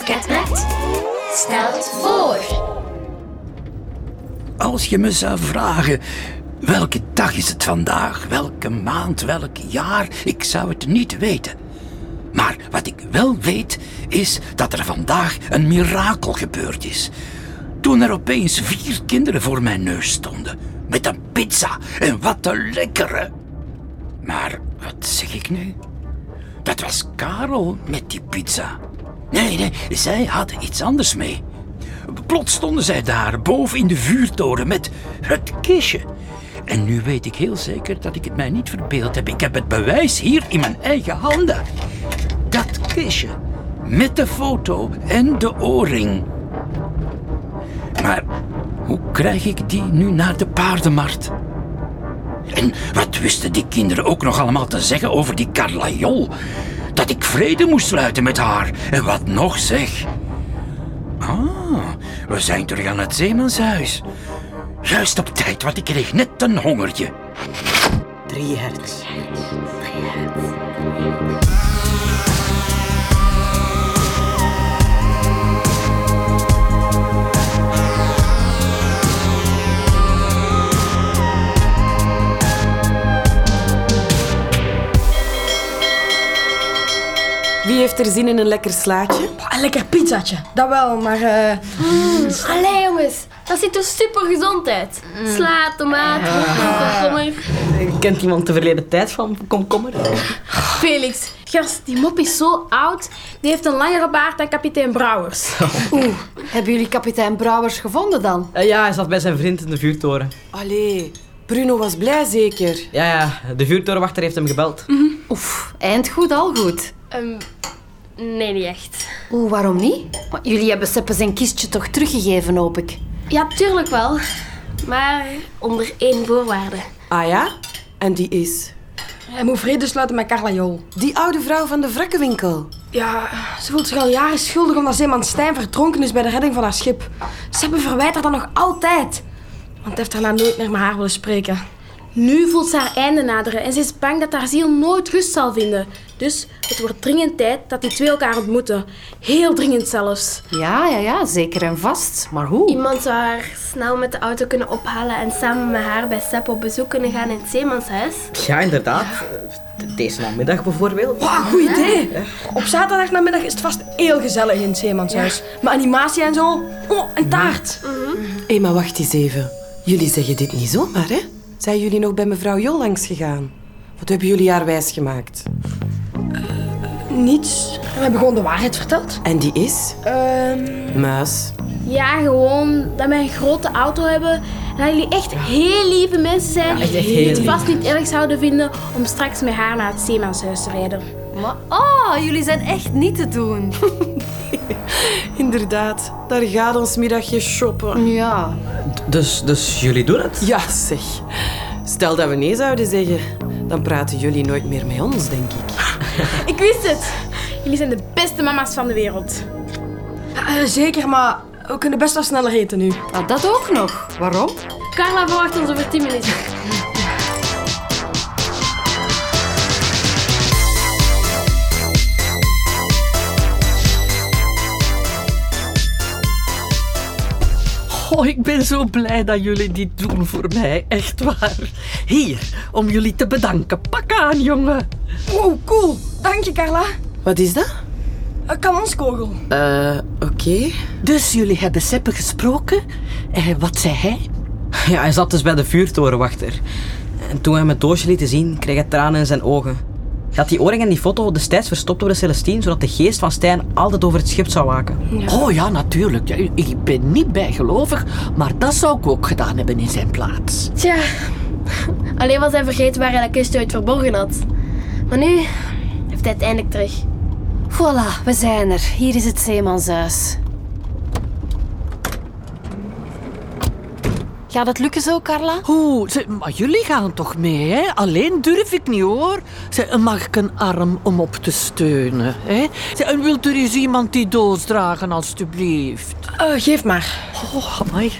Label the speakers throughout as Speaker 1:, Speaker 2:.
Speaker 1: Nederland stelt voor.
Speaker 2: Als je me zou vragen welke dag is het vandaag, welke maand, welk jaar, ik zou het niet weten. Maar wat ik wel weet is dat er vandaag een mirakel gebeurd is. Toen er opeens vier kinderen voor mijn neus stonden met een pizza en wat een lekkere. Maar wat zeg ik nu? Dat was Karel met die pizza. Nee, nee, zij had iets anders mee. Plots stonden zij daar, boven in de vuurtoren, met het kistje. En nu weet ik heel zeker dat ik het mij niet verbeeld heb. Ik heb het bewijs hier in mijn eigen handen. Dat kistje, met de foto en de oorring. Maar hoe krijg ik die nu naar de paardenmarkt? En wat wisten die kinderen ook nog allemaal te zeggen over die Carlajol? Dat ik vrede moest sluiten met haar. En wat nog zeg? Ah, we zijn terug aan het zeemanshuis. Juist op tijd, want ik kreeg net een hongertje.
Speaker 3: Drie hertz.
Speaker 4: Wie heeft er zin in een lekker slaatje?
Speaker 5: Een lekker pizzaatje. Dat wel, maar... eh,
Speaker 1: Allee jongens, dat zit dus super gezond uit. Sla, tomaat, komkommer.
Speaker 3: Kent iemand de verleden tijd van komkommer?
Speaker 5: Felix, gast, die mop is zo oud. Die heeft een langere baard dan kapitein Brouwers.
Speaker 6: Oeh, hebben jullie kapitein Brouwers gevonden dan?
Speaker 3: Eh, ja, hij zat bij zijn vriend in de vuurtoren.
Speaker 4: Allee, Bruno was blij zeker.
Speaker 3: Ja, ja, de vuurtorenwachter heeft hem gebeld.
Speaker 6: Oef, eind goed, al goed.
Speaker 1: Ehm, nee, niet echt.
Speaker 6: Oeh, waarom niet? Maar jullie hebben Seppe zijn kistje toch teruggegeven, hoop ik.
Speaker 1: Ja, tuurlijk wel. Maar onder één voorwaarde.
Speaker 4: Ah ja? En die is?
Speaker 5: Hij moet vrede sluiten met Carla Jol.
Speaker 4: Die oude vrouw van de wrakkenwinkel.
Speaker 5: Ja, ze voelt zich al jaren schuldig omdat Zeeman Stijn verdronken is bij de redding van haar schip. Seppe verwijt haar dat nog altijd. Want hij heeft daarna nooit meer met haar willen spreken. Nu voelt ze haar einde naderen en ze is bang dat haar ziel nooit rust zal vinden. Dus het wordt dringend tijd dat die twee elkaar ontmoeten. Heel dringend zelfs.
Speaker 6: Ja, ja, ja, zeker en vast. Maar hoe?
Speaker 1: Iemand zou haar snel met de auto kunnen ophalen en samen met haar bij Sepp op bezoek kunnen gaan in het zeemanshuis.
Speaker 3: Ja, inderdaad. Eh, Deze namiddag bijvoorbeeld.
Speaker 5: Wauw, goed idee. Op zaterdag namiddag is het vast heel gezellig in het Zeemanshuis. Met animatie en zo. Oh, en taart.
Speaker 4: Hé, maar wacht eens even. Jullie zeggen dit niet zomaar, hè? Zijn jullie nog bij mevrouw Jol langs gegaan? Wat hebben jullie haar wijsgemaakt?
Speaker 5: Niets. We hebben gewoon de waarheid verteld.
Speaker 4: En die is?
Speaker 5: Ehm,
Speaker 4: Muis.
Speaker 5: ja, gewoon dat wij een grote auto hebben. En dat jullie echt heel lieve mensen zijn.
Speaker 3: echt heel
Speaker 5: die het
Speaker 3: lief.
Speaker 5: vast niet erg zouden vinden om straks met haar naar het Zeemanshuis te rijden.
Speaker 6: Maar, oh, jullie zijn echt niet te doen.
Speaker 4: Inderdaad, daar gaat ons middagje shoppen.
Speaker 6: Ja,
Speaker 3: Dus, dus jullie doen het?
Speaker 4: Ja, zeg. Stel dat we nee zouden zeggen, dan praten jullie nooit meer met ons, denk ik.
Speaker 5: Ik wist het. Jullie zijn de beste mama's van de wereld. eh, zeker, maar we kunnen best wel sneller eten nu.
Speaker 6: ah, dat ook nog. Waarom?
Speaker 1: Carla verwacht ons over 10 minuten.
Speaker 7: Oh, ik ben zo blij dat jullie dit doen voor mij, echt waar. Hier, om jullie te bedanken. Pak aan, jongen.
Speaker 5: Wow, cool. Dank je, Carla.
Speaker 4: Wat is dat?
Speaker 5: Een kanonskogel.
Speaker 4: Eh, oké.
Speaker 7: Dus jullie hebben Seppe gesproken. En wat zei hij?
Speaker 3: Ja, hij zat dus bij de vuurtorenwachter. En toen hij mijn doosje liet zien, kreeg hij tranen in zijn ogen. Hij had die oorring en die foto destijds verstopt door de Celestine, zodat de geest van Stijn altijd over het schip zou waken.
Speaker 7: Oh ja, natuurlijk. Ja, Ik ben niet bijgelovig, maar dat zou ik ook gedaan hebben in zijn plaats.
Speaker 1: Tja, alleen was hij vergeten waar hij dat kistje ooit verborgen had. Maar nu heeft hij het eindelijk terug.
Speaker 6: Voilà, we zijn er. Hier is het zeemanshuis. Gaat het lukken zo, Carla?
Speaker 7: Oeh, ze- maar jullie gaan toch mee, hè? Alleen durf ik niet, hoor. Ze, eh, mag ik een arm om op te steunen, hè? Ze, en wilt er eens iemand die doos dragen, alstublieft?
Speaker 5: Eh, geef maar.
Speaker 7: Oh, amai.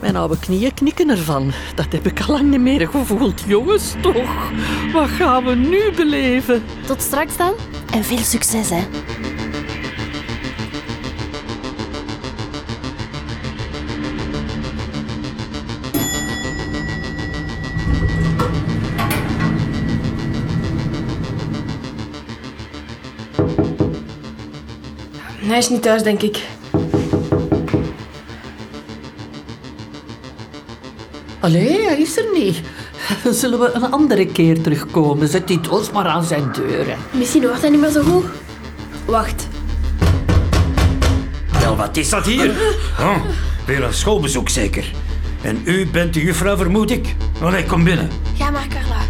Speaker 7: Mijn oude knieën knikken ervan. Dat heb ik al lang niet meer gevoeld. Jongens, toch? Wat gaan we nu beleven?
Speaker 6: Tot straks dan. En veel succes, hè.
Speaker 5: Hij is niet thuis, denk ik.
Speaker 7: Allee, hij is er niet. Zullen we een andere keer terugkomen? Zet die doos maar aan zijn deuren.
Speaker 1: Misschien hoort hij niet meer zo goed. Wacht.
Speaker 2: Wel, wat is dat hier?
Speaker 3: Ah.
Speaker 2: Oh, weer een schoolbezoek zeker. En u bent de juffrouw, vermoed ik? Allee, kom binnen.
Speaker 1: Ga maar, Carla.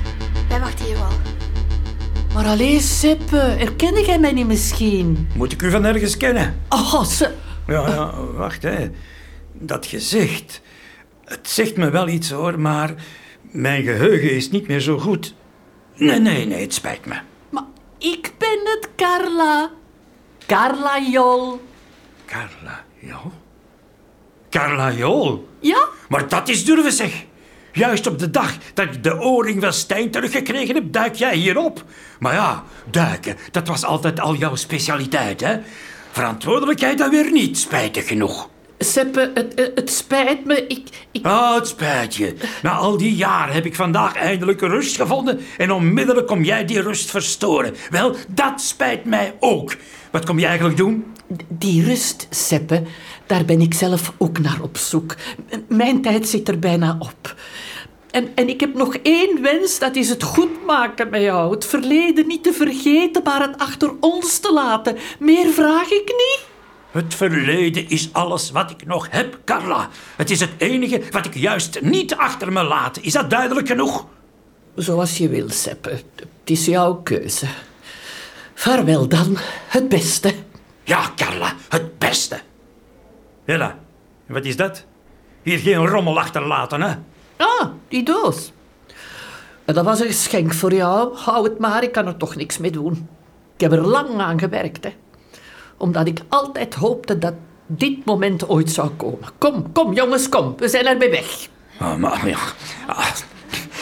Speaker 1: Wij wachten hier wel.
Speaker 7: Maar allee, Seppe, herken jij mij niet misschien?
Speaker 2: Moet ik u van ergens kennen?
Speaker 7: Oh, ze...
Speaker 2: Ja, ja, wacht, hè. Dat gezicht. Het zegt me wel iets, hoor, maar mijn geheugen is niet meer zo goed. Nee, nee, nee, het spijt me.
Speaker 7: Maar ik ben het, Carla. Carla Jol.
Speaker 2: Carla Jol? Carla Jol?
Speaker 7: Ja?
Speaker 2: Maar dat is durven, zeg. Juist op de dag dat ik de oorring van Stijn teruggekregen heb, duik jij hierop. Maar ja, duiken, dat was altijd al jouw specialiteit, hè? Verantwoordelijkheid dan weer niet, spijtig genoeg.
Speaker 7: Seppe, het, het, het spijt me. Ik, ik...
Speaker 2: Oh, het spijt je. Na al die jaren heb ik vandaag eindelijk rust gevonden en onmiddellijk kom jij die rust verstoren. Wel, dat spijt mij ook. Wat kom je eigenlijk doen?
Speaker 7: Die rust, Seppe, daar ben ik zelf ook naar op zoek. M- Mijn tijd zit er bijna op. En, en ik heb nog één wens, dat is het goed maken met jou. Het verleden niet te vergeten, maar het achter ons te laten. Meer vraag ik niet.
Speaker 2: Het verleden is alles wat ik nog heb, Carla. Het is het enige wat ik juist niet achter me laat. Is dat duidelijk genoeg?
Speaker 7: Zoals je wil, Seppe. Het is jouw keuze. Vaarwel dan, het beste.
Speaker 2: Ja, Carla, het beste. Hela, wat is dat? Hier geen rommel achterlaten, hè?
Speaker 7: Ah, die doos. En Dat was een geschenk voor jou. Hou het maar, ik kan er toch niks mee doen. Ik heb er lang aan gewerkt, hè. Omdat ik altijd hoopte dat dit moment ooit zou komen. Kom, kom jongens, kom. We zijn ermee weg.
Speaker 2: Oh, maar ja. Ah,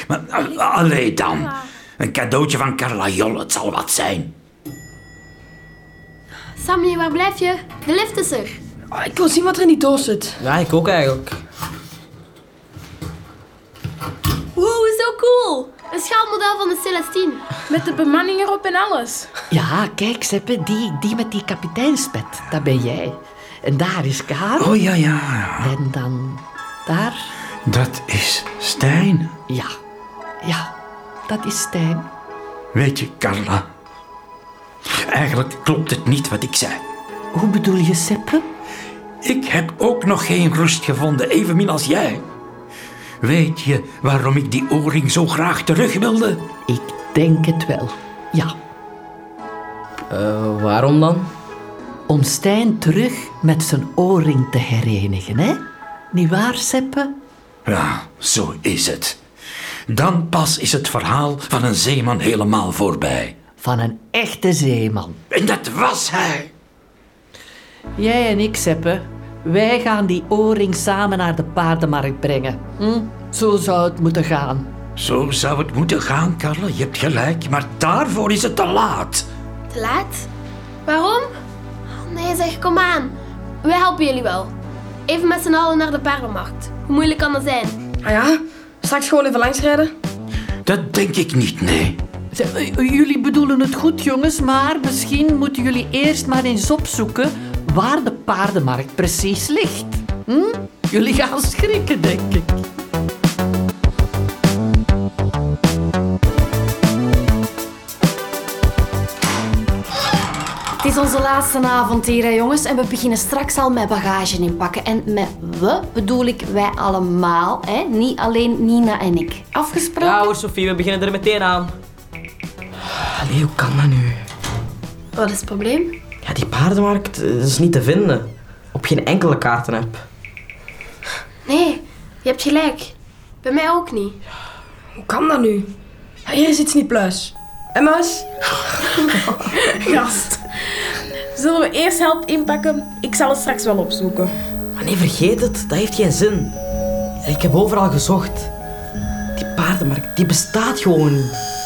Speaker 2: Maar, ah, allee dan. Een cadeautje van Carla Jol, het zal wat zijn.
Speaker 1: Sammy, waar blijf je? De lift is er.
Speaker 5: Oh, ik wil zien wat er in die doos zit.
Speaker 3: Ja, ik ook eigenlijk.
Speaker 1: Oeh, zo cool. Een schaalmodel van de Celestine.
Speaker 5: Met de bemanning erop en alles.
Speaker 7: Ja, kijk Seppe, die, die met die kapiteinspet. Dat ben jij. En daar is Karel.
Speaker 2: Oh ja, ja.
Speaker 7: En dan daar.
Speaker 2: Dat is Stijn.
Speaker 7: Ja, ja. Dat is Stijn.
Speaker 2: Weet je, Carla. Eigenlijk klopt het niet wat ik zei.
Speaker 7: Hoe bedoel je, Seppe?
Speaker 2: Ik heb ook nog geen rust gevonden, evenmin als jij. Weet je waarom ik die oorring zo graag terug wilde?
Speaker 7: Ik denk het wel. Ja,
Speaker 3: Eh, waarom dan?
Speaker 7: om Stijn terug met zijn oorring te herenigen, hè? Niet waar, Seppe?
Speaker 2: Ja, zo is het. Dan pas is het verhaal van een zeeman helemaal voorbij.
Speaker 7: Van een echte zeeman.
Speaker 2: En dat was hij.
Speaker 7: Jij en ik, Seppe, wij gaan die oorring samen naar de paardenmarkt brengen. Hm? Zo zou het moeten gaan.
Speaker 2: Zo zou het moeten gaan, Carla. Je hebt gelijk, maar daarvoor is het te laat.
Speaker 1: Te laat? Waarom? Oh, nee, zeg, kom aan. Wij helpen jullie wel. Even met z'n allen naar de paardenmarkt. Hoe moeilijk kan dat zijn?
Speaker 5: Ah ja, straks gewoon even langsrijden.
Speaker 2: Dat denk ik niet, nee.
Speaker 7: Zeg, eh, Jullie bedoelen het goed, jongens, maar misschien moeten jullie eerst maar eens opzoeken waar de paardenmarkt precies ligt. Hm? Jullie gaan schrikken, denk ik.
Speaker 6: Het is onze laatste avond hier, hè, jongens. En we beginnen straks al met bagage inpakken. En met we bedoel ik wij allemaal, hè? niet alleen Nina en ik. Afgesproken?
Speaker 3: Ja hoor, Sofie, we beginnen er meteen aan.
Speaker 7: Allee, hoe kan dat nu?
Speaker 1: Wat is het probleem?
Speaker 3: Ja, die paardenmarkt eh, is niet te vinden. Op geen enkele kaartenapp.
Speaker 1: Nee, je hebt gelijk. Bij mij ook niet.
Speaker 5: Hoe kan dat nu? Ja, hier is iets niet pluis. Emma's?
Speaker 8: Gast. Zullen we eerst help inpakken? Ik zal het straks wel opzoeken.
Speaker 3: Maar nee, vergeet het. Dat heeft geen zin. Ik heb overal gezocht. Die paardenmarkt, die bestaat gewoon niet.